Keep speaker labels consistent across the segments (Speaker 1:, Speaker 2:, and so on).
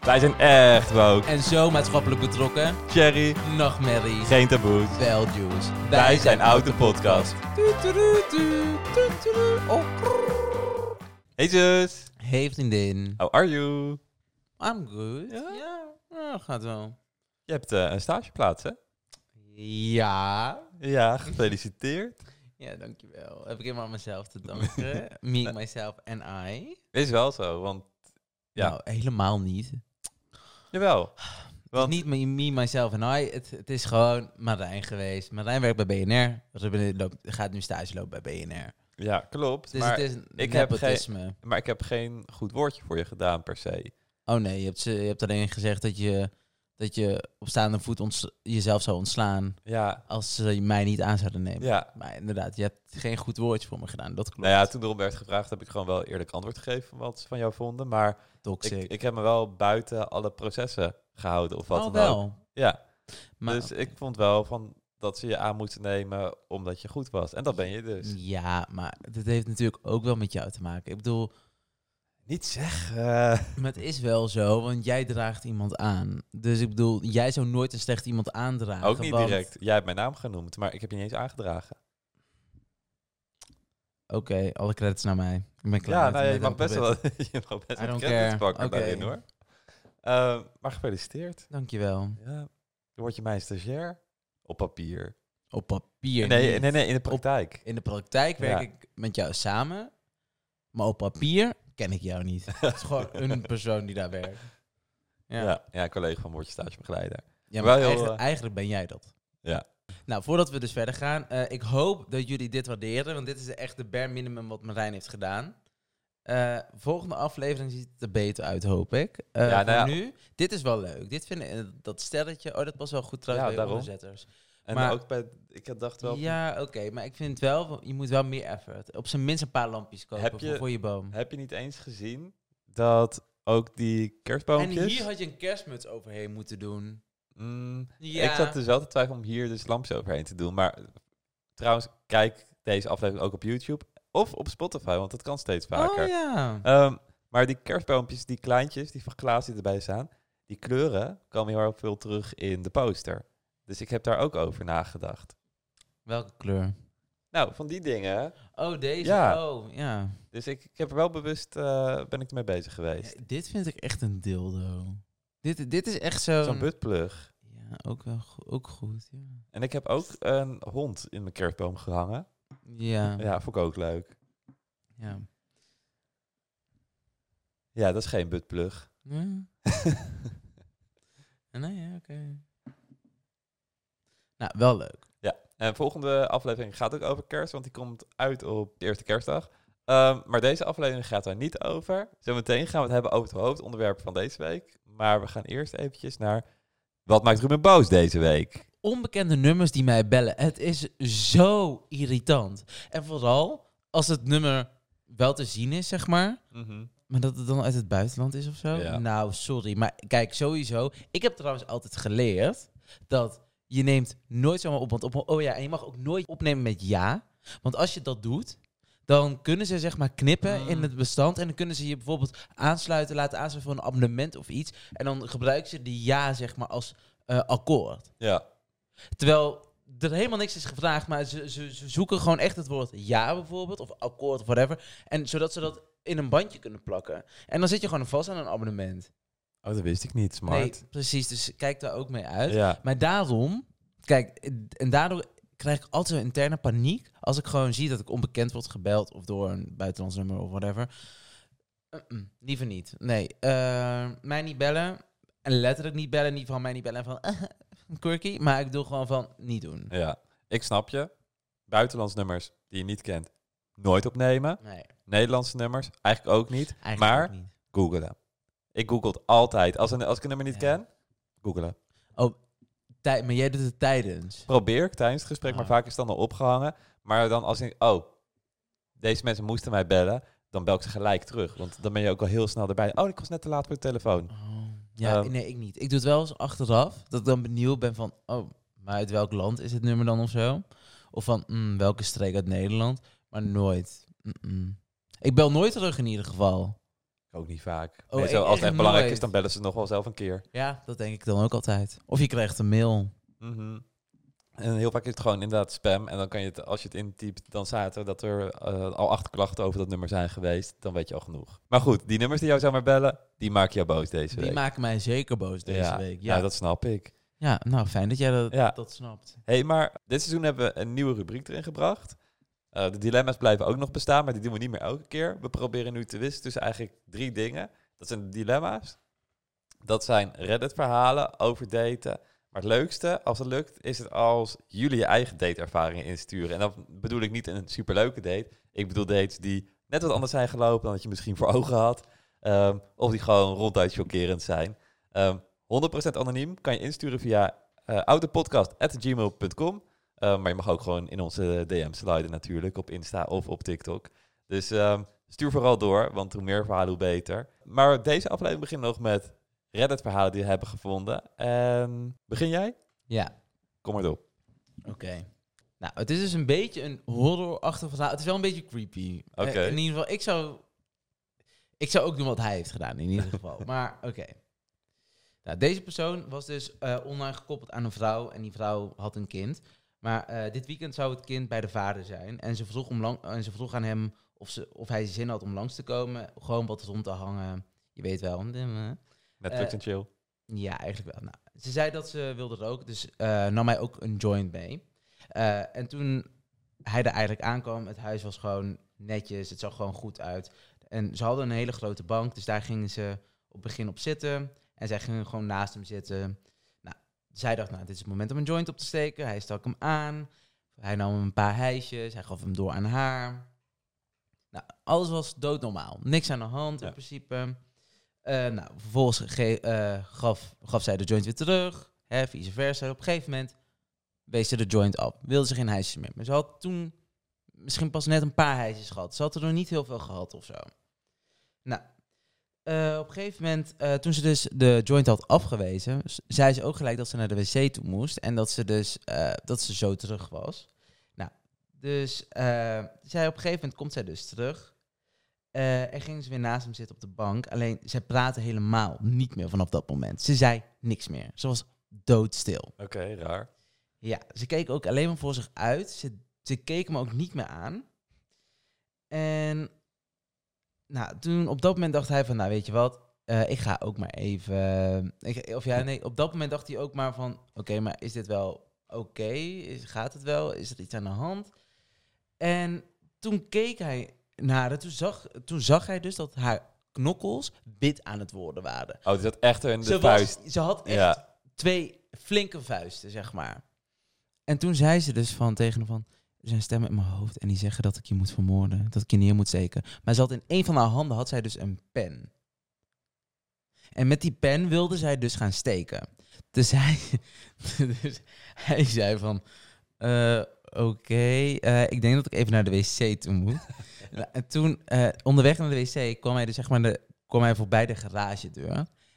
Speaker 1: Wij zijn echt woke.
Speaker 2: En zo maatschappelijk betrokken.
Speaker 1: Cherry,
Speaker 2: Nog merrie.
Speaker 1: geen taboes.
Speaker 2: Wel juice.
Speaker 1: Wij zijn Out The Podcast.
Speaker 2: Tueturutu, tueturutu, oh, krrr.
Speaker 1: Hey zus,
Speaker 2: Hey vriendin.
Speaker 1: how are you?
Speaker 2: I'm good.
Speaker 1: Ja?
Speaker 2: Ja, ja, gaat wel.
Speaker 1: Je hebt eh, een stageplaats, hè?
Speaker 2: Ja.
Speaker 1: Ja, gefeliciteerd.
Speaker 2: Ja, dankjewel. Heb ik helemaal aan mezelf te danken. Me, myself en I.
Speaker 1: Is wel zo, want... Ja.
Speaker 2: Nou, helemaal niet.
Speaker 1: Jawel.
Speaker 2: Het
Speaker 1: Want-
Speaker 2: is niet me, me, myself en I. Het, het is gewoon Marijn geweest. Marijn werkt bij BNR. Ruben loopt, gaat nu stage lopen bij BNR.
Speaker 1: Ja, klopt.
Speaker 2: Dus
Speaker 1: maar,
Speaker 2: het is
Speaker 1: ik heb
Speaker 2: nepotisme.
Speaker 1: maar ik heb geen goed woordje voor je gedaan, per se.
Speaker 2: Oh nee, je hebt, ze- je hebt alleen gezegd dat je, dat je op staande voet ons, jezelf zou ontslaan
Speaker 1: Ja,
Speaker 2: als ze mij niet aan zouden nemen.
Speaker 1: ja.
Speaker 2: Maar inderdaad, je hebt geen goed woordje voor me gedaan. Dat klopt.
Speaker 1: Nou ja, toen erom werd gevraagd, heb ik gewoon wel eerlijk antwoord gegeven van wat ze van jou vonden. Maar ik,
Speaker 2: Toxic.
Speaker 1: ik heb me wel buiten alle processen gehouden of wat
Speaker 2: Oh,
Speaker 1: dan ook.
Speaker 2: wel.
Speaker 1: Ja,
Speaker 2: Maar,
Speaker 1: dus ik vond wel van dat ze je aan moeten nemen omdat je goed was. En dat ben je dus.
Speaker 2: Ja, maar dit heeft natuurlijk ook wel met jou te maken. Ik bedoel,
Speaker 1: Niet zeggen.
Speaker 2: maar het is wel zo, want jij draagt iemand aan. Dus ik bedoel, jij zou nooit een slecht iemand aandragen.
Speaker 1: Ook niet
Speaker 2: want-
Speaker 1: direct. Jij hebt mijn naam genoemd, maar ik heb je niet eens aangedragen.
Speaker 2: Oké, alle credits naar mij. Ik ben klaar.
Speaker 1: Ja,
Speaker 2: met-
Speaker 1: nou, ja,
Speaker 2: met
Speaker 1: je, mag
Speaker 2: mijn
Speaker 1: best wel,
Speaker 2: pret.
Speaker 1: je mag best
Speaker 2: I
Speaker 1: wel
Speaker 2: don't
Speaker 1: credits
Speaker 2: care.
Speaker 1: pakken
Speaker 2: Oké.
Speaker 1: daarin hoor. Eh, maar gefeliciteerd.
Speaker 2: Dankjewel.
Speaker 1: Ja. Dan word je mijn stagiair. Op papier.
Speaker 2: Op papier.
Speaker 1: Nee, nee,
Speaker 2: niet.
Speaker 1: nee, in de praktijk.
Speaker 2: In de praktijk werk
Speaker 1: Ja.
Speaker 2: ik met jou samen, maar op papier ken ik jou niet. Het is gewoon een persoon die daar werkt. Ja,
Speaker 1: Ja.
Speaker 2: ja.
Speaker 1: Ja, collega van Word je stagebegeleider.
Speaker 2: maar
Speaker 1: Wel heel,
Speaker 2: eigenlijk,
Speaker 1: eh,
Speaker 2: eigenlijk ben jij dat.
Speaker 1: Ja.
Speaker 2: Nou, voordat we dus verder gaan, eh, ik hoop dat jullie dit waarderen, want dit is echt de bare minimum wat Marijn heeft gedaan. Eh, volgende aflevering ziet het er beter uit, hoop ik. Eh
Speaker 1: Ja, nou
Speaker 2: voor
Speaker 1: ja.
Speaker 2: nu, dit is wel leuk. Dit vind ik, eh, dat sterretje, oh, dat was wel goed trouwens
Speaker 1: Ja,
Speaker 2: bij
Speaker 1: daarom.
Speaker 2: onderzetters.
Speaker 1: En
Speaker 2: Maar-
Speaker 1: ook bij, ik had dacht wel,
Speaker 2: Ja, oké, maar ik vind het wel, je moet wel meer effort. Op zijn minst een paar lampjes kopen
Speaker 1: Heb
Speaker 2: voor-
Speaker 1: je-
Speaker 2: voor je boom.
Speaker 1: heb je niet eens gezien dat ook die
Speaker 2: En
Speaker 1: kerstboompjes...
Speaker 2: hier had je een kerstmuts overheen moeten doen.
Speaker 1: Mm,
Speaker 2: Ja.
Speaker 1: Ik zat dus wel te twijfelen om hier dus lampjes overheen te doen. Maar eh, trouwens, kijk deze aflevering ook op YouTube of op Spotify, want dat kan steeds vaker.
Speaker 2: Oh ja.
Speaker 1: Ehm, maar die kerstboompjes, die kleintjes, die van Klaas die erbij staan, die kleuren komen heel erg veel terug in de poster. Dus ik heb daar ook over nagedacht.
Speaker 2: Welke kleur?
Speaker 1: Nou, van die dingen.
Speaker 2: Oh, deze.
Speaker 1: Ja.
Speaker 2: Oh, ja.
Speaker 1: Dus ik, ik heb er wel bewust, eh, ben ik mee bezig
Speaker 2: Ja,
Speaker 1: geweest.
Speaker 2: Dit vind ik echt een dildo. Dit, dit is echt zo'n...
Speaker 1: Zo'n buttplug.
Speaker 2: Ja, ook, wel go- ook goed. Ja.
Speaker 1: En ik heb ook een hond in mijn kerstboom gehangen.
Speaker 2: Ja, ja.
Speaker 1: Ja, vond ik ook leuk. Ja, dat is geen buttplug.
Speaker 2: Ja. nee, ja, oké. Nou, wel leuk.
Speaker 1: En volgende aflevering gaat ook over kerst, want die komt uit op de eerste kerstdag. Ehm, maar deze aflevering gaat daar niet over. Zometeen gaan we het hebben over het hoofdonderwerp van deze week. Maar we gaan eerst eventjes naar wat maakt Ruben boos deze week?
Speaker 2: onbekende nummers die mij bellen. Het is zo irritant. En vooral als het nummer wel te zien is, zeg maar. Maar dat het dan uit het buitenland is of zo.
Speaker 1: Ja.
Speaker 2: Nou, sorry. Maar kijk, sowieso. Ik heb trouwens altijd geleerd dat je neemt nooit zomaar op. Want op, oh ja, en je mag ook nooit opnemen met ja. Want als je dat doet, dan kunnen ze zeg maar knippen in het bestand. En dan kunnen ze je bijvoorbeeld aansluiten, laten aansluiten voor een abonnement of iets. En dan gebruiken ze die ja zeg maar als eh, akkoord.
Speaker 1: Ja.
Speaker 2: Terwijl er helemaal niks is gevraagd, maar ze, ze, ze zoeken gewoon echt het woord ja bijvoorbeeld, of akkoord of whatever. En zodat ze dat in een bandje kunnen plakken. En dan zit je gewoon vast aan een abonnement.
Speaker 1: Oh, dat wist ik niet, smart.
Speaker 2: Nee, precies. Dus kijk daar ook mee uit.
Speaker 1: Ja.
Speaker 2: Maar daarom, kijk, en daardoor krijg ik altijd zo'n interne paniek als ik gewoon zie dat ik onbekend word gebeld of door een buitenlands nummer of whatever. Mm-mm, liever niet. Nee, eh, mij niet bellen. En letterlijk niet bellen, niet van mij niet bellen en van quirky. Maar ik bedoel gewoon van niet doen.
Speaker 1: ja. Ik snap je. Buitenlands nummers die je niet kent, nooit opnemen.
Speaker 2: Nee,
Speaker 1: Nederlandse nummers, eigenlijk ook niet.
Speaker 2: eigenlijk
Speaker 1: Maar-
Speaker 2: ook niet.
Speaker 1: Googelen. Ik googelt altijd. Als, een, als ik een nummer niet
Speaker 2: Ja.
Speaker 1: ken, googelen.
Speaker 2: Tij- maar jij doet het tijdens.
Speaker 1: probeer ik tijdens het gesprek, maar
Speaker 2: Ah.
Speaker 1: vaak is het dan al opgehangen. Maar dan als ik, oh, deze mensen moesten mij bellen, dan bel ik ze gelijk terug. Want dan ben je ook al heel snel erbij. Oh, ik was net te laat voor de telefoon.
Speaker 2: Oh, ja,
Speaker 1: Ehm.
Speaker 2: nee, ik niet. Ik doe het wel eens achteraf, dat ik dan benieuwd ben van, oh, maar uit welk land is het nummer dan of zo? Of van, mm, welke streek uit Nederland? Maar nooit. Mm-mm. Ik bel nooit terug in ieder geval.
Speaker 1: Ik Ook niet vaak.
Speaker 2: Oh,
Speaker 1: Nee, zo,
Speaker 2: e-
Speaker 1: als het echt
Speaker 2: echt
Speaker 1: belangrijk
Speaker 2: nooit.
Speaker 1: is, dan bellen ze nog wel zelf een keer.
Speaker 2: Ja, dat denk ik dan ook altijd. Of je krijgt een mail.
Speaker 1: Mhm. En heel vaak is het gewoon inderdaad spam. En dan kan je het, als je het intypt, dan staat er dat er eh, al acht klachten over dat nummer zijn geweest. Dan weet je al genoeg. Maar goed, die nummers die jou zomaar bellen, die maken jou boos deze
Speaker 2: Die
Speaker 1: week.
Speaker 2: maken mij zeker boos deze
Speaker 1: ja.
Speaker 2: week. Ja.
Speaker 1: Ja. dat snap ik.
Speaker 2: ja, nou fijn dat jij dat,
Speaker 1: Ja.
Speaker 2: dat snapt.
Speaker 1: hey, maar dit seizoen hebben we een nieuwe rubriek erin gebracht. Eh, de dilemma's blijven ook nog bestaan, maar die doen we niet meer elke keer. We proberen nu te wisselen tussen eigenlijk drie dingen. Dat zijn de dilemma's. Dat zijn Reddit-verhalen over daten. Maar het leukste, als het lukt, is het als jullie je eigen dateervaringen insturen. En dan bedoel ik niet een superleuke date. Ik bedoel dates die net wat anders zijn gelopen dan dat je misschien voor ogen had. Ehm, of die gewoon ronduit chockerend zijn. Ehm 100% anoniem kan je insturen via eh oudepodcast.gmail.com. Eh, maar je mag ook gewoon in onze DM sliden natuurlijk, op Insta of op TikTok. Dus ehm, stuur vooral door, want hoe meer verhalen, hoe beter. Maar deze aflevering begint nog met Reddit-verhalen die we hebben gevonden. En begin jij?
Speaker 2: Ja.
Speaker 1: Kom maar door.
Speaker 2: Oké. Nou, het is dus een beetje een horrorachtig verhaal. Het is wel een beetje creepy.
Speaker 1: Oké.
Speaker 2: Eh, In ieder geval, ik zou... Ik zou ook doen wat hij heeft gedaan, in ieder geval. Maar, oké. Nou, deze persoon was dus eh, online gekoppeld aan een vrouw. En die vrouw had een kind. Maar eh, dit weekend zou het kind bij de vader zijn. En ze vroeg, om lang, en ze vroeg aan hem of, ze, of hij zin had om langs te komen. Gewoon wat rond te hangen. Je weet wel.
Speaker 1: Netflix
Speaker 2: Eh,
Speaker 1: en chill.
Speaker 2: Ja, eigenlijk wel. Nou, ze zei dat ze wilde roken, dus eh, nam hij ook een joint mee. Eh, en toen hij er eigenlijk aankwam, het huis was gewoon netjes, het zag gewoon goed uit. En ze hadden een hele grote bank, dus daar gingen ze op het begin op zitten. En zij gingen gewoon naast hem zitten. Nou, zij dacht, nou, dit is het moment om een joint op te steken. Hij stak hem aan. Hij nam een paar hijsjes, hij gaf hem door aan haar. Nou, alles was doodnormaal. Niks aan de hand
Speaker 1: Ja.
Speaker 2: in principe. Eh, nou, vervolgens ge- eh, gaf, gaf zij de joint weer terug. Hè, vice versa. Op een gegeven moment wees ze de joint af. Wilde ze geen hijsjes meer. Maar ze had toen misschien pas net een paar hijsjes gehad. Ze had er nog niet heel veel gehad of zo. Nou, eh, op een gegeven moment, eh, toen ze dus de joint had afgewezen, s- zei ze ook gelijk dat ze naar de wc toe moest. En dat ze dus eh, dat ze zo terug was. Nou, dus eh, zij op een gegeven moment komt zij dus terug. Eh, en ging ze weer naast hem zitten op de bank. Alleen, zij praatte helemaal niet meer vanaf dat moment. Ze zei niks meer. Ze was doodstil.
Speaker 1: Oké, raar.
Speaker 2: Ja, ze keek ook alleen maar voor zich uit. Ze, ze keek me ook niet meer aan. En nou, toen op dat moment dacht hij van, nou weet je wat, eh, ik ga ook maar even. eh, ik, of ja, nee, op dat moment dacht hij ook maar van, oké, maar is dit wel oké? Is- Gaat het wel? Is er iets aan de hand? En toen keek hij naar haar. Toen zag, toen zag hij dus dat haar knokkels wit aan het worden waren.
Speaker 1: Oh, die zat echt in de
Speaker 2: Ze, was-
Speaker 1: vuist.
Speaker 2: ze had echt
Speaker 1: Ja.
Speaker 2: twee flinke vuisten, zeg maar. En toen zei ze dus van tegen hem van... Er zijn stemmen in mijn hoofd en die zeggen dat ik je moet vermoorden. Dat ik je neer moet steken. Maar ze had in een van haar handen had zij dus een pen. En met die pen wilde zij dus gaan steken. Dus hij, dus hij zei van... eh, Oké, eh, ik denk dat ik even naar de wc toe moet. Nou, en toen, eh, onderweg naar de wc, kwam hij, dus, zeg maar de, kwam hij voorbij de garagedeur.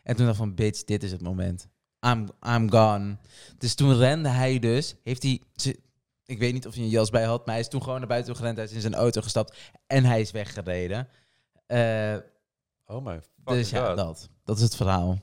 Speaker 2: En toen dacht ik van, bitch, dit is het moment. I'm, I'm gone. Dus toen rende hij dus. Heeft hij. ze- Ik weet niet of hij een jas bij had, maar hij is toen gewoon naar buiten gerend. Hij is in zijn auto gestapt en hij is weggereden. Eh,
Speaker 1: Oh my
Speaker 2: dus
Speaker 1: fucking
Speaker 2: ja,
Speaker 1: god.
Speaker 2: dat. Dat is het verhaal.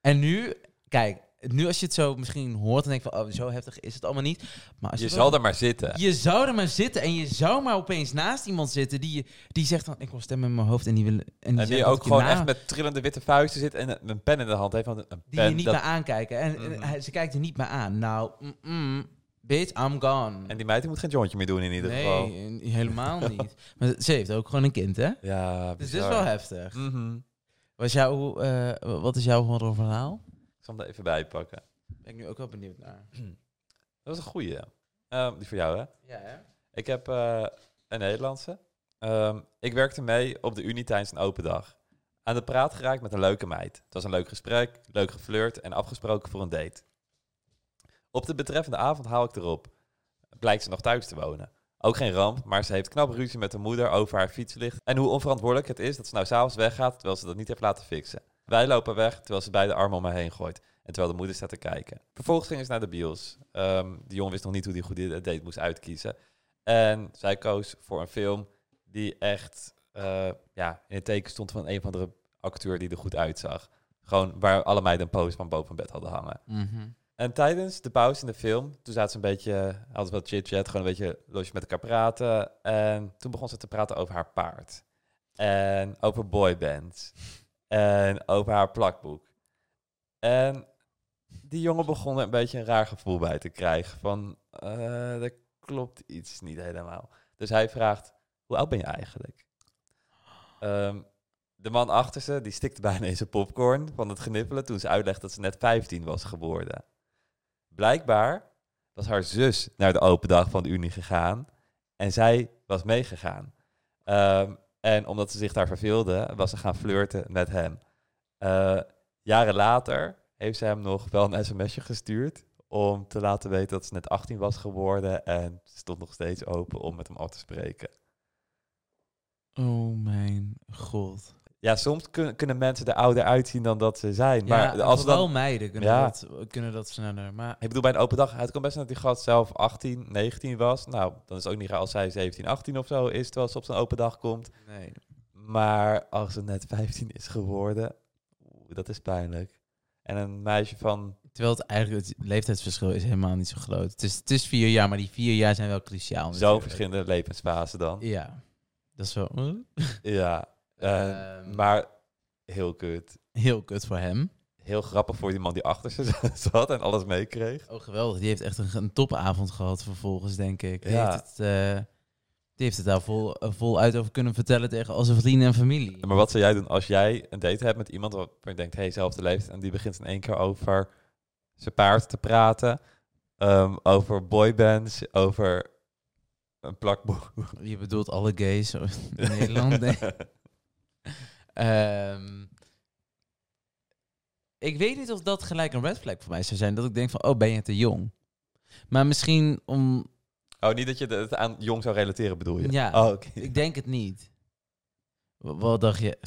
Speaker 2: En nu, kijk, nu als je het zo misschien hoort en denkt van, oh, zo heftig is het allemaal niet. Maar als
Speaker 1: Je
Speaker 2: het
Speaker 1: zal er maar zitten.
Speaker 2: je zou er maar zitten en je zou maar opeens naast iemand zitten die, je- die zegt van, ik wil stemmen in mijn hoofd en die willen... En die,
Speaker 1: En die
Speaker 2: zeggen dat
Speaker 1: ook
Speaker 2: ik je
Speaker 1: gewoon
Speaker 2: na-
Speaker 1: echt met trillende witte vuisten zit en een- een pen in de hand heeft. Want een
Speaker 2: Die je
Speaker 1: pen,
Speaker 2: niet
Speaker 1: dat-
Speaker 2: meer aankijken. En, en
Speaker 1: Mm.
Speaker 2: hij- ze kijkt er niet meer aan. Nou, mm, mm, bitch, I'm gone.
Speaker 1: En die meid die moet geen jointje meer doen in ieder
Speaker 2: nee,
Speaker 1: geval.
Speaker 2: n- helemaal niet. Maar ze heeft ook gewoon een kind, hè?
Speaker 1: Ja,
Speaker 2: Dus dit is
Speaker 1: bizar.
Speaker 2: wel heftig.
Speaker 1: Mhm.
Speaker 2: Was jouw, eh, wat is jouw horrorverhaal?
Speaker 1: Ik zal hem er even bij pakken.
Speaker 2: Ben ik nu ook wel benieuwd naar.
Speaker 1: Dat is een goeie. Ehm, die voor jou, hè?
Speaker 2: Ja, hè?
Speaker 1: Ik heb eh, een Nederlandse. Ehm, ik werkte mee op de Unie tijdens een open dag. Aan de praat geraakt met een leuke meid. Het was een leuk gesprek, leuk geflirt en afgesproken voor een date. Op de betreffende avond haal ik erop. Blijkt ze nog thuis te wonen. Ook geen ramp, maar ze heeft knap ruzie met haar moeder over haar fietslicht. En hoe onverantwoordelijk het is dat ze nou s'avonds weggaat terwijl ze dat niet heeft laten fixen. Wij lopen weg terwijl ze beide armen om haar heen gooit. En terwijl de moeder staat te kijken. Vervolgens gingen ze naar de bios. Ehm de jongen wist nog niet hoe hij een goede date moest uitkiezen. En zij koos voor een film die echt eh, ja, in het teken stond van een van de acteur die er goed uitzag. Gewoon waar alle meiden een post van boven bed hadden hangen. En tijdens de pauze in de film, toen zaten ze een beetje, eh, altijd wel chit-chat, gewoon een beetje losjes met elkaar praten. En toen begon ze te praten over haar paard. En over boybands. En over haar plakboek. En die jongen begon er een beetje een raar gevoel bij te krijgen. Van, eh er klopt iets niet helemaal. Dus hij vraagt, hoe oud ben je eigenlijk? Ehm, de man achter ze, die stikte bijna in zijn popcorn van het gnippelen toen ze uitlegde dat ze net 15 was geworden. Blijkbaar was haar zus naar de open dag van de Unie gegaan en zij was meegegaan. Ehm, en omdat ze zich daar verveelde, was ze gaan flirten met hem. Eh, jaren later heeft ze hem nog wel een sms'je gestuurd om te laten weten dat ze net 18 was geworden en ze stond nog steeds open om met hem af te spreken.
Speaker 2: Oh mijn god.
Speaker 1: Ja, soms kun- kunnen mensen er ouder uitzien dan dat ze zijn. Maar
Speaker 2: ja,
Speaker 1: als ze dan
Speaker 2: vooral meiden kunnen,
Speaker 1: Ja.
Speaker 2: dat, kunnen dat sneller. Maar
Speaker 1: Ik bedoel, bij een open dag, het kan best zijn dat die gast zelf 18, 19 was. Nou, dan is het ook niet raar als zij 17, 18 of zo is, terwijl ze op zo'n open dag komt.
Speaker 2: nee.
Speaker 1: Maar als ze net 15 is geworden, oeh, dat is pijnlijk. En een meisje van,
Speaker 2: Terwijl het eigenlijk het leeftijdsverschil is helemaal niet zo groot. Het is, het is vier jaar, maar die vier jaar zijn wel cruciaal.
Speaker 1: zo'n
Speaker 2: natuurlijk.
Speaker 1: verschillende levensfasen dan.
Speaker 2: Ja, dat is wel eh,
Speaker 1: Ja, eh,
Speaker 2: Ehm.
Speaker 1: maar heel kut.
Speaker 2: heel kut voor hem.
Speaker 1: Heel grappig voor die man die achter ze zat en alles meekreeg.
Speaker 2: Oh, geweldig. Die heeft echt een, een topavond gehad vervolgens, denk ik. Die,
Speaker 1: Ja.
Speaker 2: heeft, het, eh, die heeft het daar vol, eh, voluit over kunnen vertellen tegen al zijn vrienden en familie.
Speaker 1: Maar wat zou jij doen als jij een date hebt met iemand waarvan je denkt, hé, hey, zelfde leeftijd, en die begint in één keer over zijn paard te praten, ehm, over boybands, over een plakboek.
Speaker 2: Je bedoelt alle gays in Nederland? Nee. Ehm, ik weet niet of dat gelijk een red flag voor mij zou zijn. Dat ik denk van, oh, ben je te jong? Maar misschien om...
Speaker 1: Oh, niet dat je het aan jong zou relateren, bedoel je?
Speaker 2: Ja,
Speaker 1: Oh, oké.
Speaker 2: ik denk het niet. Wa- Wat dacht je?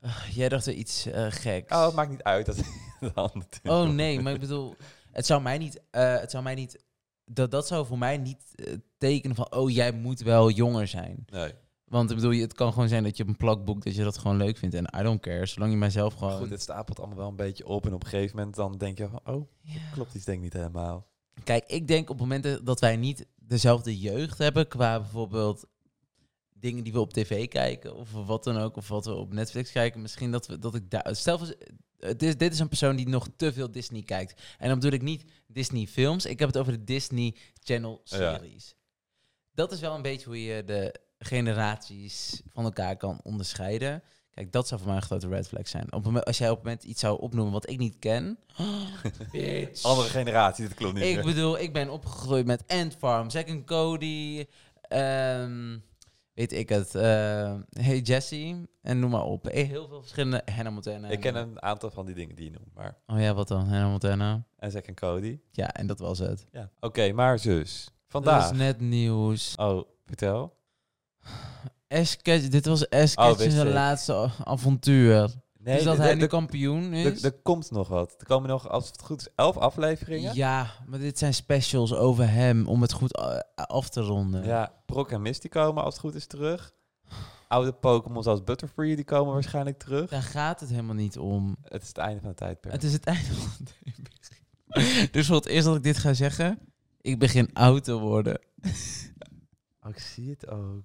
Speaker 2: Ah, jij dacht er iets eh, geks.
Speaker 1: Oh, het maakt niet uit. Dat de handen
Speaker 2: Oh nee, maar ik bedoel, het zou mij niet, eh, het zou mij niet, dat, dat zou voor mij niet eh, tekenen van, oh jij moet wel jonger zijn.
Speaker 1: Nee.
Speaker 2: Want ik bedoel, je- het kan gewoon zijn dat je op een plakboek, dat je dat gewoon leuk vindt. En I don't care, zolang je mijzelf
Speaker 1: Maar
Speaker 2: gewoon...
Speaker 1: goed, het stapelt allemaal wel een beetje op. En op een gegeven moment dan denk je van, oh,
Speaker 2: Ja.
Speaker 1: klopt iets denk ik niet helemaal.
Speaker 2: Kijk, ik denk op momenten dat wij niet dezelfde jeugd hebben qua bijvoorbeeld dingen die we op tv kijken of wat dan ook, of wat we op Netflix kijken, misschien dat we dat ik daar. Stel, voor- het is, dit is een persoon die nog te veel Disney kijkt. En dan bedoel ik niet Disney films, ik heb het over de Disney Channel series. Dat is wel een beetje hoe je de generaties van elkaar kan onderscheiden. Kijk, dat zou voor mij een grote red flag zijn. Op het moment, als jij op het moment iets zou opnoemen wat ik niet ken. bitch.
Speaker 1: Andere generatie, dat klopt niet
Speaker 2: Ik
Speaker 1: meer.
Speaker 2: bedoel, ik ben opgegroeid met Ant Farm, Zack en Cody, ehm, weet ik het, ehm, Hey Jesse en noem maar op. Eh, Heel veel verschillende, Hannah Montana.
Speaker 1: Ik ken een aantal van die dingen die je noemt, maar...
Speaker 2: Oh ja, wat dan, Hannah Montana?
Speaker 1: En Zack en Cody.
Speaker 2: Ja, en dat was het.
Speaker 1: Ja. Oké, maar zus.
Speaker 2: Dat
Speaker 1: Vandaag.
Speaker 2: is net nieuws.
Speaker 1: Oh, vertel.
Speaker 2: Ash Ketch- dit was Ash
Speaker 1: Oh,
Speaker 2: Ketchum
Speaker 1: wist
Speaker 2: zijn
Speaker 1: ik.
Speaker 2: laatste a- avontuur.
Speaker 1: Nee,
Speaker 2: dus dat
Speaker 1: d-
Speaker 2: hij
Speaker 1: d-
Speaker 2: nu
Speaker 1: d-
Speaker 2: kampioen
Speaker 1: d-
Speaker 2: is.
Speaker 1: d- Er komt nog wat. Er komen nog, als het goed is, elf afleveringen. Ja.
Speaker 2: ja, maar dit zijn specials over hem om het goed a- af te ronden.
Speaker 1: Brock en Misty komen als het goed is terug. Oude Pokémon zoals Butterfree, die komen waarschijnlijk terug.
Speaker 2: Daar gaat het helemaal niet om.
Speaker 1: Het is het einde van het tijdperk.
Speaker 2: Het is het einde van de tijd. Dus voor het eerst dat ik dit ga zeggen, ik begin oud te worden.
Speaker 1: Oh, ik zie het ook.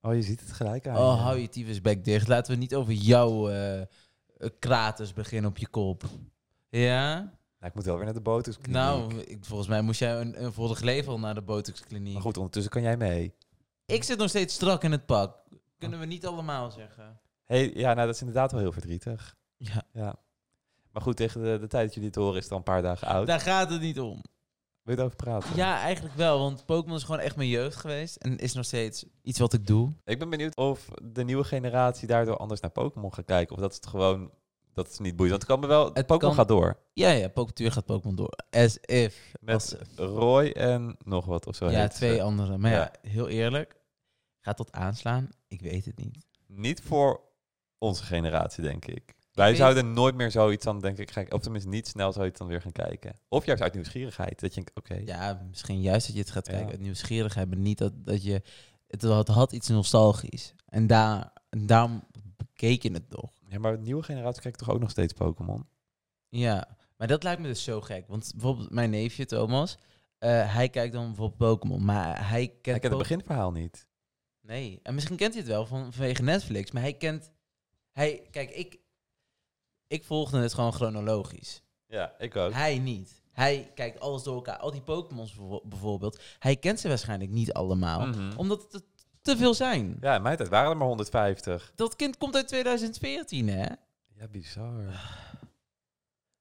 Speaker 1: Oh, je ziet het gelijk aan.
Speaker 2: Oh, hou je tyfusbek dicht. Laten we niet over jouw eh, eh, kraters beginnen op je kop. Ja?
Speaker 1: Nou, ik moet wel weer naar de botox kliniek.
Speaker 2: Nou, ik, volgens mij moest jij een, een volgend leven al naar de botoxkliniek.
Speaker 1: Maar goed, ondertussen kan jij mee.
Speaker 2: Ik zit nog steeds strak in het pak. Kunnen we niet allemaal zeggen.
Speaker 1: Hey, ja, nou, dat is inderdaad wel heel verdrietig.
Speaker 2: Ja,
Speaker 1: Ja. Maar goed, tegen de, de tijd dat jullie dit horen is het al een paar dagen oud.
Speaker 2: daar gaat het niet om.
Speaker 1: Wil je het over praten?
Speaker 2: Nou, Ja, eigenlijk wel, want Pokémon is gewoon echt mijn jeugd geweest. En is nog steeds iets wat ik doe.
Speaker 1: Ik ben benieuwd of de nieuwe generatie daardoor anders naar Pokémon gaat kijken. Of dat het gewoon, dat is niet boeit. Want het kan me wel,
Speaker 2: Het
Speaker 1: Pokémon
Speaker 2: kan-
Speaker 1: gaat door.
Speaker 2: Ja, ja, Pokémon gaat Pokémon door. As if. Als-
Speaker 1: Met Roy en nog wat of zo.
Speaker 2: ja,
Speaker 1: heet ze.
Speaker 2: twee anderen. Maar eh, ja.
Speaker 1: Ja.
Speaker 2: heel eerlijk, gaat dat aanslaan? Ik weet het niet.
Speaker 1: Niet voor onze generatie, denk ik. Wij
Speaker 2: weet-
Speaker 1: zouden nooit meer zoiets aan, denk ik, gaan- of tenminste niet snel zoiets dan weer gaan kijken. Of juist uit nieuwsgierigheid. Dat je denkt, oké,
Speaker 2: Ja, misschien juist dat je het gaat
Speaker 1: Ja.
Speaker 2: kijken uit nieuwsgierigheid, maar niet dat, dat je... Het, wel- het had iets nostalgisch. En daar En daarom keek je het nog.
Speaker 1: Ja, maar de nieuwe generatie kijkt toch ook nog steeds Pokémon?
Speaker 2: Ja, maar dat lijkt me dus zo gek. Want bijvoorbeeld mijn neefje Thomas, eh, hij kijkt dan bijvoorbeeld Pokémon, maar hij kent...
Speaker 1: Ik ken het
Speaker 2: Pokémon-
Speaker 1: beginverhaal niet.
Speaker 2: Nee, en misschien kent hij het wel van, vanwege Netflix, maar hij kent... Hij, kijk, ik, ik volgde het gewoon chronologisch.
Speaker 1: Ja, ik ook.
Speaker 2: Hij niet. Hij kijkt alles door elkaar. Al die Pokémons bijvo- bijvoorbeeld, hij kent ze waarschijnlijk niet allemaal,
Speaker 1: Mhm.
Speaker 2: omdat het er te veel zijn.
Speaker 1: Ja, in mijn tijd waren er maar 150.
Speaker 2: Dat kind komt uit 2014, hè?
Speaker 1: Ja, bizar.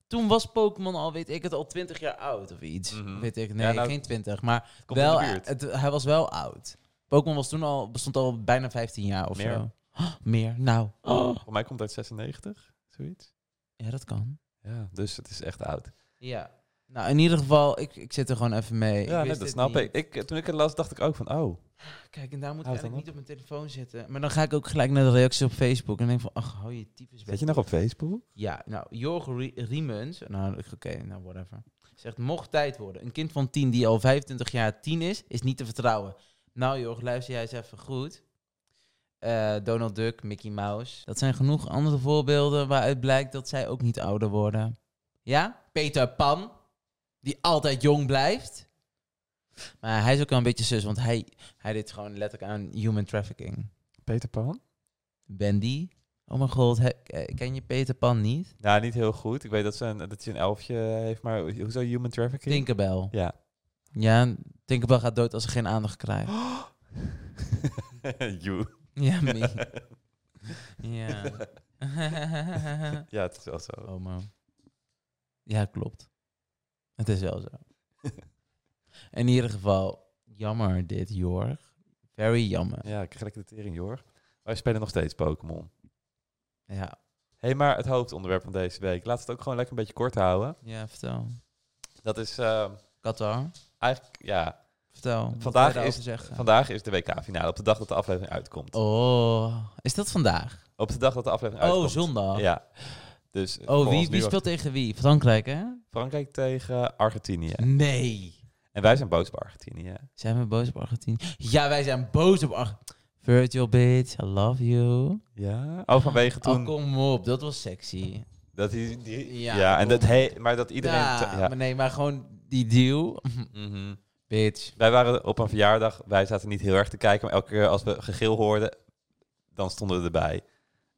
Speaker 2: Toen was Pokémon al, weet ik het, al 20 jaar oud of iets.
Speaker 1: Mhm.
Speaker 2: Weet ik, nee,
Speaker 1: Ja, nou,
Speaker 2: geen 20, maar
Speaker 1: Het komt
Speaker 2: wel,
Speaker 1: in de buurt.
Speaker 2: het, hij was wel oud. Pokémon was toen al, bestond al bijna 15 jaar of
Speaker 1: Meer.
Speaker 2: zo. Oh, meer, nou. Oh.
Speaker 1: Voor mij komt het uit 96, zoiets.
Speaker 2: Ja, dat kan.
Speaker 1: Ja, dus het is echt oud.
Speaker 2: Ja. Nou, in ieder geval, ik, ik zit er gewoon even mee.
Speaker 1: ja,
Speaker 2: wist
Speaker 1: nee, dat
Speaker 2: het
Speaker 1: snap
Speaker 2: niet.
Speaker 1: ik. ik. Toen ik het las, dacht ik ook van, oh,
Speaker 2: Kijk, en daar moet ik
Speaker 1: Houd dan
Speaker 2: eigenlijk niet op mijn telefoon zitten. Maar dan ga ik ook gelijk naar de reacties op Facebook en denk van, ach, hou je types
Speaker 1: zit je nog op Facebook?
Speaker 2: Ja, nou, Jorg Rie- Riemens, nou, oké, nou, whatever. Zegt, mocht tijd worden. Een kind van 10 die al 25 jaar 10 is, is niet te vertrouwen. Nou, Jorg, luister jij eens even goed. Eh, Donald Duck, Mickey Mouse. Dat zijn genoeg andere voorbeelden waaruit blijkt dat zij ook niet ouder worden. Ja, Peter Pan, die altijd jong blijft. Maar hij is ook wel een beetje zus, want hij, hij deed gewoon letterlijk aan human trafficking.
Speaker 1: Peter Pan?
Speaker 2: Wendy, oh mijn god, he- eh, ken je Peter Pan niet?
Speaker 1: Nou, niet heel goed. Ik weet dat ze een, dat ze een elfje heeft, maar hoezo human trafficking?
Speaker 2: Tinkerbell.
Speaker 1: Ja.
Speaker 2: Ja, Tinkerbell gaat dood als ze geen aandacht krijgt.
Speaker 1: you.
Speaker 2: Ja, me. ja.
Speaker 1: Ja, het is wel zo.
Speaker 2: oh man. Ja, klopt. Het is wel zo. In ieder geval, jammer dit, Jorg. Very jammer.
Speaker 1: Ja, ik krijg lekker de tering, hoor. Wij spelen nog steeds Pokémon.
Speaker 2: Ja,
Speaker 1: Hé, hey, maar het hoofdonderwerp van deze week. Laat het ook gewoon lekker een beetje kort houden.
Speaker 2: ja vertel.
Speaker 1: Dat is eh,
Speaker 2: Qatar,
Speaker 1: eigenlijk, ja.
Speaker 2: vertel. wat
Speaker 1: Vandaag
Speaker 2: wil je
Speaker 1: is-
Speaker 2: daarover zeggen?
Speaker 1: Vandaag is de WK-finale. Op de dag dat de aflevering uitkomt.
Speaker 2: Oh, is dat vandaag?
Speaker 1: Op de dag dat de aflevering
Speaker 2: Oh,
Speaker 1: uitkomt.
Speaker 2: zondag.
Speaker 1: Ja. Dus eh,
Speaker 2: Oh,
Speaker 1: voor
Speaker 2: wie,
Speaker 1: ons nu
Speaker 2: wie
Speaker 1: was
Speaker 2: speelt tegen wie? Frankrijk, hè?
Speaker 1: Frankrijk tegen Argentinië.
Speaker 2: Nee.
Speaker 1: En wij zijn boos op Argentinië.
Speaker 2: Zijn we boos op Argentinië? Ja, wij zijn boos op Argentinië. Virtual bitch, I love you.
Speaker 1: Ja. Oh, vanwege toen.
Speaker 2: Oh, kom op, dat was sexy.
Speaker 1: Dat die, die- ja, en
Speaker 2: Ja, kom.
Speaker 1: dat he, maar dat iedereen.
Speaker 2: ja,
Speaker 1: te- ja.
Speaker 2: Maar nee, maar gewoon die deal.
Speaker 1: Mhm.
Speaker 2: bitch.
Speaker 1: Wij waren op een verjaardag, wij zaten niet heel erg te kijken, maar elke keer als we gegil hoorden, dan stonden we erbij.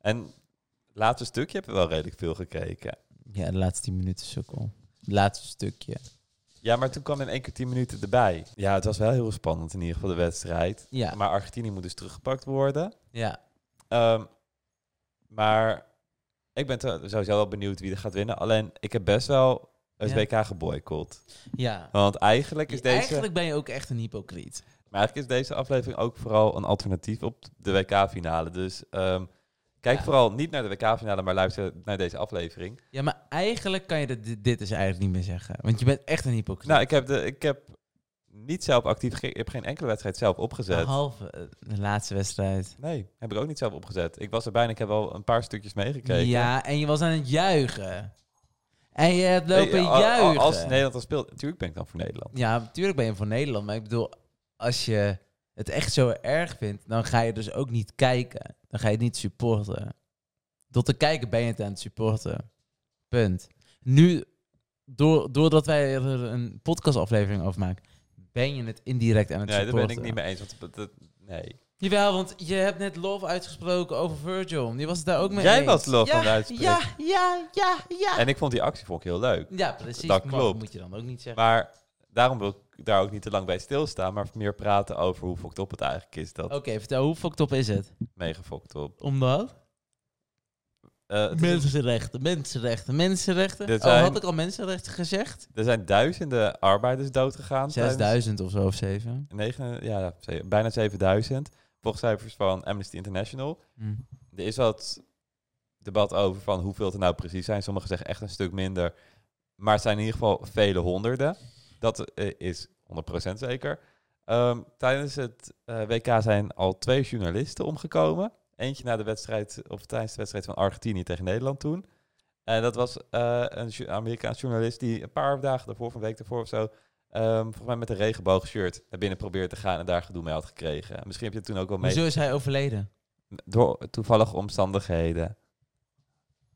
Speaker 1: En het laatste stukje hebben we wel redelijk veel gekeken.
Speaker 2: Ja, de laatste 10 minuten sukkel. Het laatste stukje.
Speaker 1: Ja, maar toen kwam in één keer tien minuten erbij. Ja, het was wel heel spannend in ieder geval de wedstrijd.
Speaker 2: Ja,
Speaker 1: Maar Argentinië moet dus teruggepakt worden.
Speaker 2: ja.
Speaker 1: Ehm, maar ik ben te- sowieso wel benieuwd wie er gaat winnen. Alleen ik heb best wel het
Speaker 2: Ja.
Speaker 1: WK geboycott.
Speaker 2: ja.
Speaker 1: Want eigenlijk is, deze,
Speaker 2: Eigenlijk ben je ook echt een hypocriet.
Speaker 1: maar eigenlijk is deze aflevering ook vooral een alternatief op de WK-finale. Dus ehm, kijk
Speaker 2: Ja.
Speaker 1: vooral niet naar de WK-finale, maar luister naar deze aflevering.
Speaker 2: Ja, maar eigenlijk kan je dat, dit- dit is eigenlijk niet meer zeggen. Want je bent echt een hypocriet.
Speaker 1: Nou, ik heb, de, ik heb niet zelf actief, ge- ik heb geen enkele wedstrijd zelf opgezet.
Speaker 2: Behalve eh, de laatste wedstrijd.
Speaker 1: Nee, heb ik ook niet zelf opgezet. Ik was er bijna, ik heb wel een paar stukjes meegekeken.
Speaker 2: Ja, en je was aan het juichen. En je hebt
Speaker 1: Nee,
Speaker 2: lopen
Speaker 1: al- al-
Speaker 2: juichen.
Speaker 1: Als Nederland dan speelt, natuurlijk ben ik dan voor Nederland.
Speaker 2: Ja, natuurlijk ben je voor Nederland. Maar ik bedoel, als je het echt zo erg vindt, dan ga je dus ook niet kijken. Dan ga je het niet supporten. Door te kijken ben je het aan het supporten. Punt. Nu, door, doordat wij er een podcastaflevering over maken, ben je het indirect aan het
Speaker 1: Nee, daar
Speaker 2: supporten.
Speaker 1: ben ik niet mee eens. Want dat, dat- nee.
Speaker 2: Jawel, want je hebt net lof uitgesproken over Virgil. Die was het daar ook mee
Speaker 1: Jij
Speaker 2: eens.
Speaker 1: was lof
Speaker 2: ja,
Speaker 1: aan het uitspreken.
Speaker 2: Ja, ja, ja, ja.
Speaker 1: En ik vond die actie vond ik heel leuk.
Speaker 2: ja, precies.
Speaker 1: Dat
Speaker 2: Maar
Speaker 1: klopt.
Speaker 2: moet je dan ook niet zeggen.
Speaker 1: Maar daarom wil ik daar ook niet te lang bij stilstaan, maar meer praten over hoe fokt op het eigenlijk is. Dat
Speaker 2: Oké, vertel, hoe fucked up is het?
Speaker 1: mega fokt op.
Speaker 2: Omdat?
Speaker 1: Eh, het is-
Speaker 2: Mensenrechten, mensenrechten, mensenrechten.
Speaker 1: Dit
Speaker 2: Oh,
Speaker 1: zijn-
Speaker 2: had ik al mensenrechten gezegd?
Speaker 1: er zijn duizenden arbeiders doodgegaan. tijdens-
Speaker 2: 6000 of zo, of 7.
Speaker 1: Negen, ja, ze- bijna 7000. Volgens cijfers van Amnesty International. Er is wat debat over van hoeveel er nou precies zijn. Sommigen zeggen echt een stuk minder. Maar het zijn in ieder geval vele honderden. Dat eh, is 100% zeker. Ehm, tijdens het eh, WK zijn al twee journalisten omgekomen. Eentje na de wedstrijd, of tijdens de wedstrijd van Argentinië tegen Nederland toen. En dat was eh, een ju- Amerikaans journalist die een paar dagen daarvoor, van een week daarvoor of zo, ehm, volgens mij met een regenboogshirt naar binnen probeerde te gaan en daar gedoe mee had gekregen. Misschien heb je het toen ook wel mee.
Speaker 2: Hoezo is hij overleden?
Speaker 1: door toevallige omstandigheden.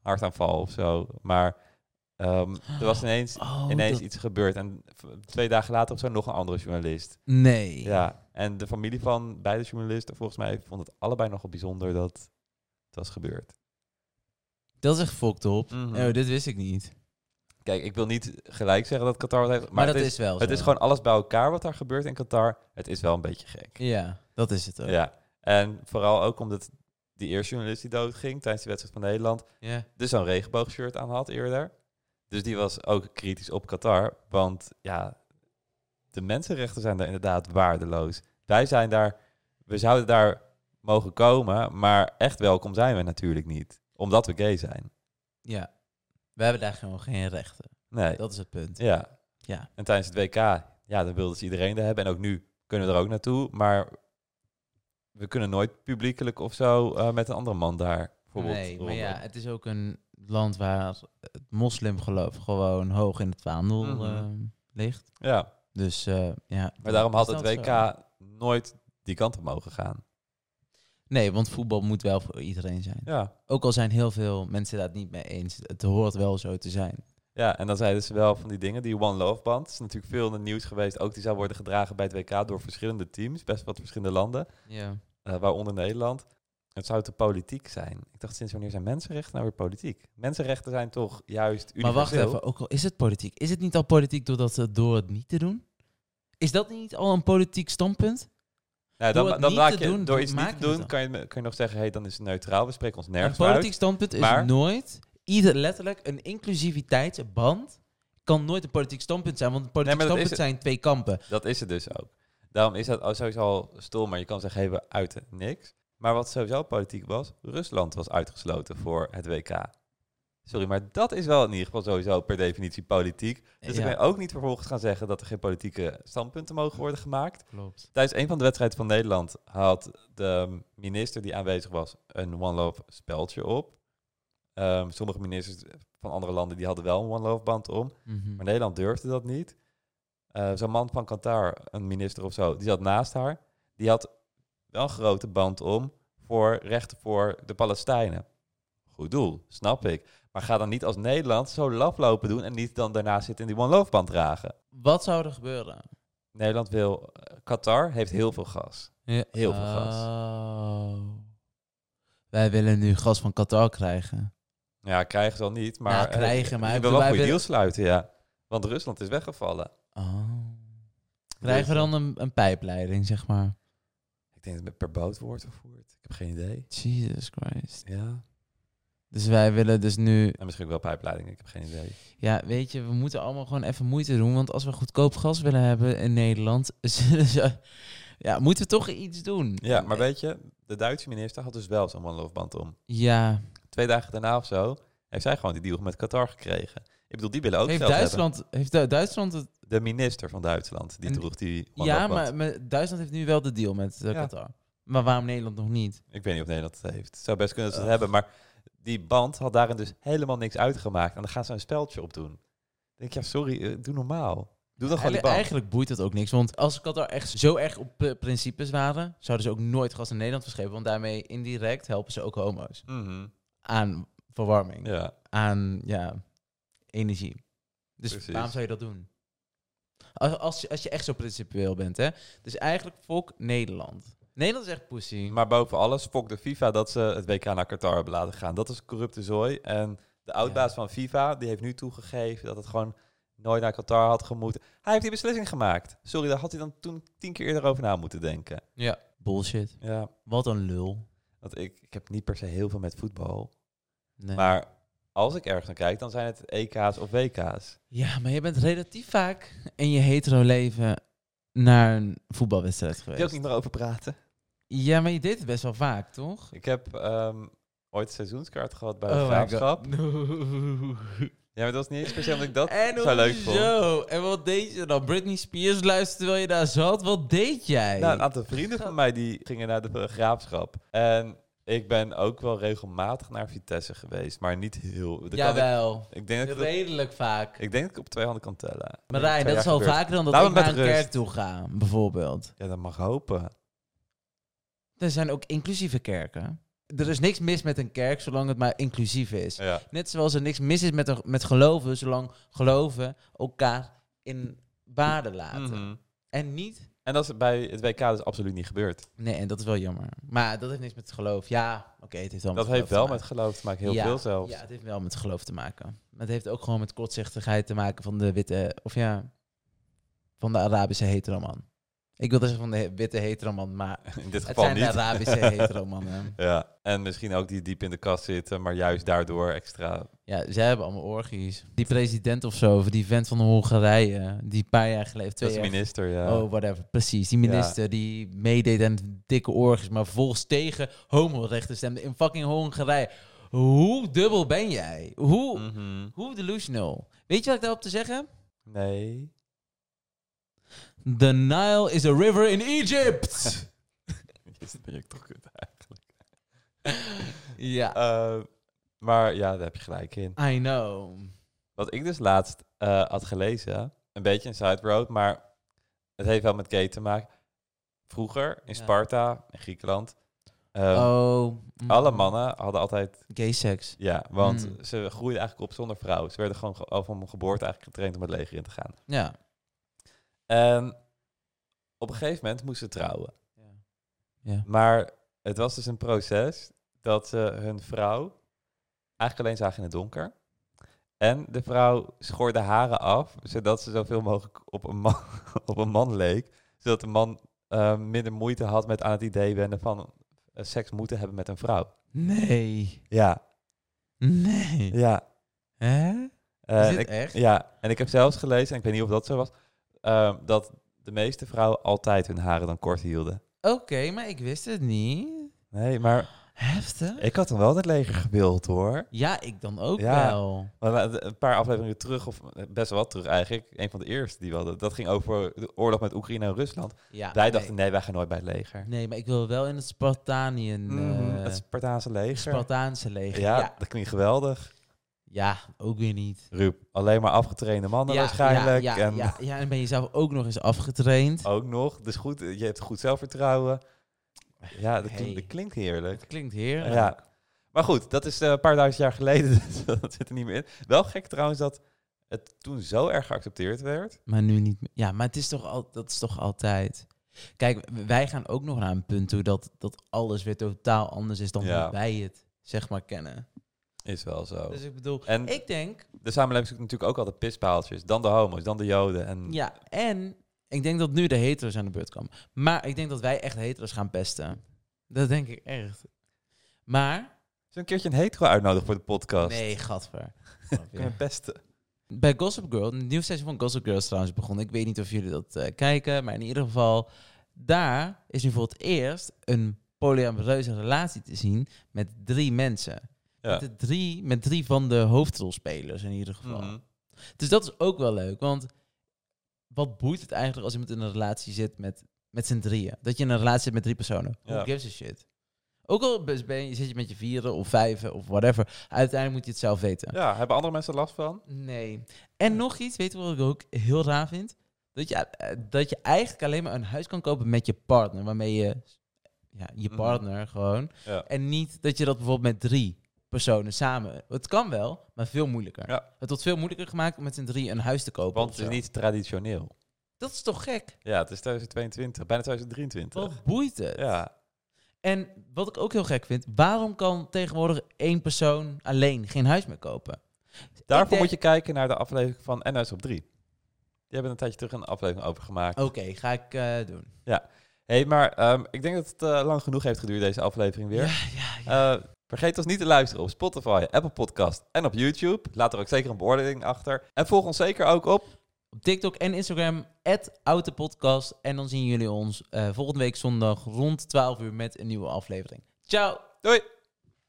Speaker 1: Hartaanval of zo. Maar ehm, er was ineens,
Speaker 2: Oh,
Speaker 1: ineens
Speaker 2: dat-
Speaker 1: iets gebeurd. En v- twee dagen later of zo nog een andere journalist.
Speaker 2: Nee.
Speaker 1: Ja. En de familie van beide journalisten, volgens mij, vond het allebei nogal bijzonder dat het was gebeurd.
Speaker 2: Dat is echt fucked up.
Speaker 1: Mhm.
Speaker 2: Oh, dit wist ik niet. Maar,
Speaker 1: Kijk, ik wil niet gelijk zeggen dat Qatar wat heeft. Maar,
Speaker 2: dat
Speaker 1: het,
Speaker 2: is,
Speaker 1: is,
Speaker 2: wel
Speaker 1: het
Speaker 2: zo.
Speaker 1: is gewoon alles bij elkaar wat daar gebeurt in Qatar. Het is wel een beetje gek.
Speaker 2: Ja, dat is het ook.
Speaker 1: Ja, en vooral ook omdat die eerste journalist die doodging tijdens de wedstrijd van Nederland,
Speaker 2: Ja.
Speaker 1: dus zo'n regenboogshirt aan had eerder. Dus die was ook kritisch op Qatar, want ja, de mensenrechten zijn daar inderdaad waardeloos. Wij zijn daar, we zouden daar mogen komen, maar echt welkom zijn we natuurlijk niet, omdat we gay zijn.
Speaker 2: Ja. We hebben daar gewoon geen rechten.
Speaker 1: Nee,
Speaker 2: Dat is het punt.
Speaker 1: ja.
Speaker 2: Ja.
Speaker 1: En tijdens het WK, ja, dan wilden ze iedereen er hebben en ook nu kunnen we er ook naartoe, maar we kunnen nooit publiekelijk of zo eh, met een andere man daar. bijvoorbeeld
Speaker 2: Nee, maar
Speaker 1: roddelen.
Speaker 2: ja, het is ook een land waar het moslimgeloof gewoon hoog in het vaandel
Speaker 1: Mhm.
Speaker 2: ehm, ligt.
Speaker 1: Ja,
Speaker 2: Dus eh, ja.
Speaker 1: maar daarom had
Speaker 2: is
Speaker 1: het
Speaker 2: dat
Speaker 1: WK
Speaker 2: zo.
Speaker 1: nooit die kant op mogen gaan.
Speaker 2: Nee, want voetbal moet wel voor iedereen zijn.
Speaker 1: Ja.
Speaker 2: Ook al zijn heel veel mensen daar het niet mee eens. Het hoort wel zo te zijn.
Speaker 1: ja, en dan zeiden ze wel van die dingen, die One Love Band. is natuurlijk veel in het nieuws geweest. Ook die zou worden gedragen bij het WK door verschillende teams, best wat verschillende landen,
Speaker 2: Ja.
Speaker 1: eh, waaronder Nederland. Het zou te politiek zijn. Ik dacht, sinds wanneer zijn mensenrechten nou weer politiek? Mensenrechten zijn toch juist
Speaker 2: Maar
Speaker 1: universeel?
Speaker 2: wacht even, ook al is het politiek. Is het niet al politiek doordat, ze- door het niet te doen? Is dat niet al een politiek standpunt?
Speaker 1: Nou,
Speaker 2: Door
Speaker 1: dan,
Speaker 2: het
Speaker 1: dan
Speaker 2: niet
Speaker 1: maak
Speaker 2: te
Speaker 1: je,
Speaker 2: doen,
Speaker 1: door iets
Speaker 2: maak
Speaker 1: niet
Speaker 2: je
Speaker 1: te
Speaker 2: het
Speaker 1: doen,
Speaker 2: dan.
Speaker 1: kan je, kan je nog zeggen, hey, dan is het neutraal, we spreken ons
Speaker 2: Een
Speaker 1: nergens meer
Speaker 2: politiek
Speaker 1: uit.
Speaker 2: standpunt is
Speaker 1: maar-
Speaker 2: nooit, ieder, letterlijk, een inclusiviteitsband kan nooit een politiek standpunt zijn. Want een politiek
Speaker 1: maar dat is
Speaker 2: standpunt zijn twee kampen.
Speaker 1: Dat is het dus ook. Daarom is dat al- sowieso al stom, maar je kan zeggen, hey, we uiten niks. Maar wat sowieso politiek was, Rusland was uitgesloten voor het WK. Sorry, maar dat is wel in ieder geval sowieso per definitie politiek. Dus
Speaker 2: Ja,
Speaker 1: dan kan je ook niet vervolgens gaan zeggen dat er geen politieke standpunten mogen worden gemaakt.
Speaker 2: klopt.
Speaker 1: Tijdens een van de wedstrijden van Nederland had de minister die aanwezig was een One Love speldje op. Ehm, sommige ministers van andere landen die hadden wel een One Love band om.
Speaker 2: Mhm.
Speaker 1: Maar Nederland durfde dat niet. Eh, Zo'n man van Qatar, een minister of zo, die zat naast haar. Die had wel een grote band om voor rechten voor de Palestijnen. Goed doel, snap ik. Maar ga dan niet als Nederland zo laf lopen doen en niet dan daarna zitten in die One Love band dragen.
Speaker 2: Wat zou er gebeuren?
Speaker 1: Nederland wil, eh, Qatar heeft heel veel gas. Heel veel gas.
Speaker 2: Oh. Wij willen nu gas van Qatar krijgen.
Speaker 1: Ja, krijgen ze al niet, maar
Speaker 2: Nou,
Speaker 1: eh,
Speaker 2: krijgen, maar
Speaker 1: je
Speaker 2: ik
Speaker 1: wil wel
Speaker 2: bedoel, wij
Speaker 1: goede
Speaker 2: willen-
Speaker 1: deals sluiten, ja. Want Rusland is weggevallen.
Speaker 2: Oh. Krijgen we dan een, een pijpleiding, zeg maar?
Speaker 1: Ik denk dat het per boot wordt vervoerd. Ik heb geen idee.
Speaker 2: Jesus Christ.
Speaker 1: Ja.
Speaker 2: Dus wij willen dus nu...
Speaker 1: En misschien ook wel pijpleidingen, ik heb geen idee.
Speaker 2: Ja, weet je, we moeten allemaal gewoon even moeite doen. Want als we goedkoop gas willen hebben in Nederland... zullen ze- ja, moeten we toch iets doen.
Speaker 1: Ja, maar weet je, de Duitse minister had dus wel zo'n One Love band om.
Speaker 2: Ja.
Speaker 1: Twee dagen daarna of zo heeft zij gewoon die deal met Qatar gekregen. Ik bedoel, die willen ook
Speaker 2: Heeft
Speaker 1: geld
Speaker 2: Duitsland, heeft Du- Duitsland het...
Speaker 1: hebben. De minister van Duitsland, die
Speaker 2: En-
Speaker 1: droeg die One
Speaker 2: Ja,
Speaker 1: Love band.
Speaker 2: maar maar Duitsland heeft nu wel de deal met eh,
Speaker 1: Ja.
Speaker 2: Qatar. Maar waarom Nederland nog niet?
Speaker 1: Ik weet niet of Nederland het heeft. Het zou best kunnen dat ze het
Speaker 2: Ugh.
Speaker 1: hebben, maar die band had daarin dus helemaal niks uitgemaakt. En dan gaan ze een speltje op doen. Ik denk, ja, sorry, eh, doe normaal. Doe dan gewoon die
Speaker 2: Eigenlijk,
Speaker 1: band.
Speaker 2: eigenlijk boeit het ook niks. Want als Qatar echt zo erg op eh, principes waren, zouden ze ook nooit gas in Nederland verschepen. Want daarmee indirect helpen ze ook homo's
Speaker 1: Mhm,
Speaker 2: aan verwarming,
Speaker 1: Ja,
Speaker 2: aan ja, energie. Dus
Speaker 1: Precies.
Speaker 2: waarom zou je dat doen? Als, als, je, als je echt zo principieel bent, hè? Dus eigenlijk volk Nederland. Nederland is echt pussy.
Speaker 1: maar boven alles fok de FIFA dat ze het WK naar Qatar hebben laten gaan. Dat is corrupte zooi. En de oudbaas van FIFA, die heeft nu toegegeven dat het gewoon nooit naar Qatar had gemoeten. Hij heeft die beslissing gemaakt. Sorry, daar had hij dan toen tien keer eerder over na moeten denken.
Speaker 2: ja. Bullshit.
Speaker 1: Ja,
Speaker 2: Wat een lul.
Speaker 1: want ik, ik heb niet per se heel veel met voetbal.
Speaker 2: Nee.
Speaker 1: Maar als ik ergens naar kijk, dan zijn het EK's of WK's.
Speaker 2: Ja, maar je bent relatief vaak in je hetero leven naar een voetbalwedstrijd
Speaker 1: Wil
Speaker 2: geweest.
Speaker 1: je ook niet meer over praten?
Speaker 2: Ja, maar je deed het best wel vaak, toch? Oh
Speaker 1: Ik heb ehm, ooit een seizoenskaart gehad bij de
Speaker 2: my
Speaker 1: Graafschap.
Speaker 2: god.
Speaker 1: Ja, maar dat was niet eens per se omdat ik dat
Speaker 2: en
Speaker 1: zo leuk vond.
Speaker 2: zo. En wat deed je dan? Britney Spears luisterde terwijl je daar zat. Wat deed jij?
Speaker 1: Nou, een aantal vrienden van mij die gingen naar de eh, Graafschap. En ik ben ook wel regelmatig naar Vitesse geweest, maar niet heel... dat kan ik,
Speaker 2: Jawel.
Speaker 1: ik, denk dat ik, dat-
Speaker 2: Redelijk vaak.
Speaker 1: ik denk dat ik op twee handen kan tellen.
Speaker 2: Marijn, dat is al
Speaker 1: vaak.
Speaker 2: vaker dan dat
Speaker 1: Laat
Speaker 2: ik
Speaker 1: me
Speaker 2: naar
Speaker 1: met
Speaker 2: een
Speaker 1: rust.
Speaker 2: kerk toe ga, bijvoorbeeld.
Speaker 1: Ja, dat mag hopen.
Speaker 2: Er zijn ook inclusieve kerken. Er is niks mis met een kerk zolang het maar inclusief is.
Speaker 1: Ja.
Speaker 2: Net zoals er niks mis is met, een, met geloven, zolang geloven elkaar in baden laten.
Speaker 1: Mhm.
Speaker 2: En niet.
Speaker 1: En dat is bij het WK dus absoluut niet gebeurd.
Speaker 2: Nee, en dat is wel jammer. Maar dat heeft niks met geloof. Ja, oké, het heeft wel
Speaker 1: Dat
Speaker 2: met
Speaker 1: heeft wel
Speaker 2: geloof
Speaker 1: met
Speaker 2: te maken.
Speaker 1: geloof te maken, heel
Speaker 2: Ja,
Speaker 1: veel zelfs.
Speaker 2: Ja, het heeft wel met geloof te maken. Maar het heeft ook gewoon met kortzichtigheid te maken van de witte. Of ja, van de Arabische heteroman. Ik wilde zeggen van de he- witte heteroman, maar
Speaker 1: In dit
Speaker 2: het
Speaker 1: geval
Speaker 2: zijn
Speaker 1: niet.
Speaker 2: de Arabische heteromannen.
Speaker 1: Ja, en misschien ook die diep in de kast zitten, maar juist daardoor extra.
Speaker 2: Ja, zij hebben allemaal orgies. Die president of zo, of die vent van Hongarije, die een paar jaar geleden,
Speaker 1: Dat
Speaker 2: twee
Speaker 1: is de
Speaker 2: jaar
Speaker 1: minister, ja.
Speaker 2: Oh, whatever. Precies. Die minister die meedeed aan dikke orgies, maar volgens tegen homorechten stemde in fucking Hongarije. Hoe dubbel ben jij? Hoe,
Speaker 1: Mhm.
Speaker 2: hoe delusional? Weet je wat ik daarop te zeggen?
Speaker 1: Nee.
Speaker 2: The Nile is a river in Egypt.
Speaker 1: Jezus, dat ben ik toch kut eigenlijk.
Speaker 2: ja,
Speaker 1: Eh, maar ja, daar heb je gelijk in.
Speaker 2: I know.
Speaker 1: Wat ik dus laatst eh, had gelezen, een beetje een side road, maar het heeft wel met gay te maken. Vroeger in
Speaker 2: Ja.
Speaker 1: Sparta, in Griekenland, eh,
Speaker 2: oh. mm,
Speaker 1: alle mannen hadden altijd,
Speaker 2: Gay seks.
Speaker 1: ja, want
Speaker 2: Mm.
Speaker 1: ze groeiden eigenlijk op zonder vrouw. Ze werden gewoon ge- al van geboorte eigenlijk getraind om het leger in te gaan.
Speaker 2: Ja.
Speaker 1: En op een gegeven moment moesten ze trouwen.
Speaker 2: Ja.
Speaker 1: Maar het was dus een proces dat ze hun vrouw eigenlijk alleen zagen in het donker. En de vrouw schoorde haren af, zodat ze zoveel mogelijk op een man, op een man leek. Zodat de man eh, minder moeite had met aan het idee wennen van eh, seks moeten hebben met een vrouw.
Speaker 2: Nee.
Speaker 1: Ja,
Speaker 2: Nee.
Speaker 1: ja.
Speaker 2: Hè?
Speaker 1: Eh,
Speaker 2: is dit
Speaker 1: ik-
Speaker 2: echt?
Speaker 1: Ja, en ik heb zelfs gelezen, en ik weet niet of dat zo was, eh, dat de meeste vrouwen altijd hun haren dan kort hielden.
Speaker 2: Oké, maar ik wist het niet.
Speaker 1: Nee, maar
Speaker 2: Heftig.
Speaker 1: Ik had dan wel het leger gebeeld hoor.
Speaker 2: Ja, ik dan ook
Speaker 1: Ja.
Speaker 2: wel.
Speaker 1: Maar we- een paar afleveringen terug, of eh, best wel wat terug eigenlijk. Een van de eerste die we hadden. Dat ging over de oorlog met Oekraïne en Rusland.
Speaker 2: Ja,
Speaker 1: wij
Speaker 2: Ah, nee.
Speaker 1: dachten, nee, wij gaan nooit bij het leger.
Speaker 2: Nee, maar ik wil wel in het Spartaniën,
Speaker 1: Mhm,
Speaker 2: eh,
Speaker 1: het Spartaanse leger.
Speaker 2: Spartaanse leger.
Speaker 1: ja,
Speaker 2: Ja. ja.
Speaker 1: dat klinkt geweldig.
Speaker 2: ook weer niet.
Speaker 1: Ruup, alleen maar afgetrainde mannen
Speaker 2: ja,
Speaker 1: waarschijnlijk.
Speaker 2: Ja, ja,
Speaker 1: en
Speaker 2: ja, ja, en ben je zelf ook nog eens afgetraind.
Speaker 1: ook nog. Dus goed, je hebt goed zelfvertrouwen. Ja, dat,
Speaker 2: Hey.
Speaker 1: klinkt, dat klinkt heerlijk.
Speaker 2: Dat klinkt heerlijk.
Speaker 1: Ja. Maar goed, dat is eh, een paar duizend jaar geleden. dus dat zit er niet meer in. Wel gek trouwens dat het toen zo erg geaccepteerd werd.
Speaker 2: Maar nu niet meer. Ja, maar het is toch al, dat is toch altijd... Kijk, w- wij gaan ook nog naar een punt toe dat, dat alles weer totaal anders is dan
Speaker 1: Ja.
Speaker 2: hoe wij het, zeg maar, kennen.
Speaker 1: Is wel zo.
Speaker 2: Dus ik bedoel,
Speaker 1: En
Speaker 2: ik denk...
Speaker 1: de samenleving zoekt natuurlijk ook altijd pispaaltjes. Dan de homo's, dan de joden. En
Speaker 2: Ja, en ik denk dat nu de hetero's aan de beurt komen. Maar ik denk dat wij echt hetero's gaan pesten. Dat denk ik echt. Maar...
Speaker 1: Zullen we een keertje een hetero uitnodigen voor de podcast?
Speaker 2: Nee, gadver.
Speaker 1: Kunnen we pesten?
Speaker 2: Bij Gossip Girl, het nieuwe seizoen van Gossip Girl is trouwens begonnen. Ik weet niet of jullie dat eh, kijken, maar in ieder geval... Daar is nu voor het eerst een polyamoreuze relatie te zien met drie mensen.
Speaker 1: Ja.
Speaker 2: Met, de drie, met drie van de hoofdrolspelers in ieder geval.
Speaker 1: Mhm.
Speaker 2: Dus dat is ook wel leuk, want wat boeit het eigenlijk als iemand in een relatie zit met, met z'n drieën? Dat je in een relatie zit met drie personen. Who
Speaker 1: Ja.
Speaker 2: gives a shit? Ook al bes- ben je, zit je met je vieren of vijven of whatever, uiteindelijk moet je het zelf weten.
Speaker 1: Ja, hebben andere mensen last van?
Speaker 2: Nee. En nog iets, weet je wat ik ook heel raar vind? Dat je, eh, dat je eigenlijk alleen maar een huis kan kopen met je partner, waarmee je, ja, je
Speaker 1: Mhm.
Speaker 2: partner gewoon.
Speaker 1: Ja.
Speaker 2: En niet dat je dat bijvoorbeeld met drie personen samen. Het kan wel, maar veel moeilijker.
Speaker 1: Ja.
Speaker 2: Het wordt veel moeilijker gemaakt om met z'n drie een huis te kopen.
Speaker 1: Want
Speaker 2: of
Speaker 1: het is
Speaker 2: zo.
Speaker 1: niet traditioneel.
Speaker 2: Dat is toch gek?
Speaker 1: Ja, het is 2022, bijna 2023.
Speaker 2: Wat boeit het?
Speaker 1: Ja,
Speaker 2: En wat ik ook heel gek vind, waarom kan tegenwoordig één persoon alleen geen huis meer kopen?
Speaker 1: daarvoor
Speaker 2: denk-
Speaker 1: moet je kijken naar de aflevering van NS op 3. Die hebben een tijdje terug een aflevering over gemaakt.
Speaker 2: Oké, ga ik eh, doen.
Speaker 1: Hé, hey, maar ehm, ik denk dat het eh, lang genoeg heeft geduurd, deze aflevering weer.
Speaker 2: Ja, ja, ja.
Speaker 1: Eh, vergeet ons niet te luisteren op Spotify, Apple Podcast en op YouTube. Laat er ook zeker een beoordeling achter. En volg ons zeker ook op
Speaker 2: Op TikTok en Instagram, @autopodcast. En dan zien jullie ons eh, volgende week zondag rond 12 uur met een nieuwe aflevering. Ciao!
Speaker 1: Doei!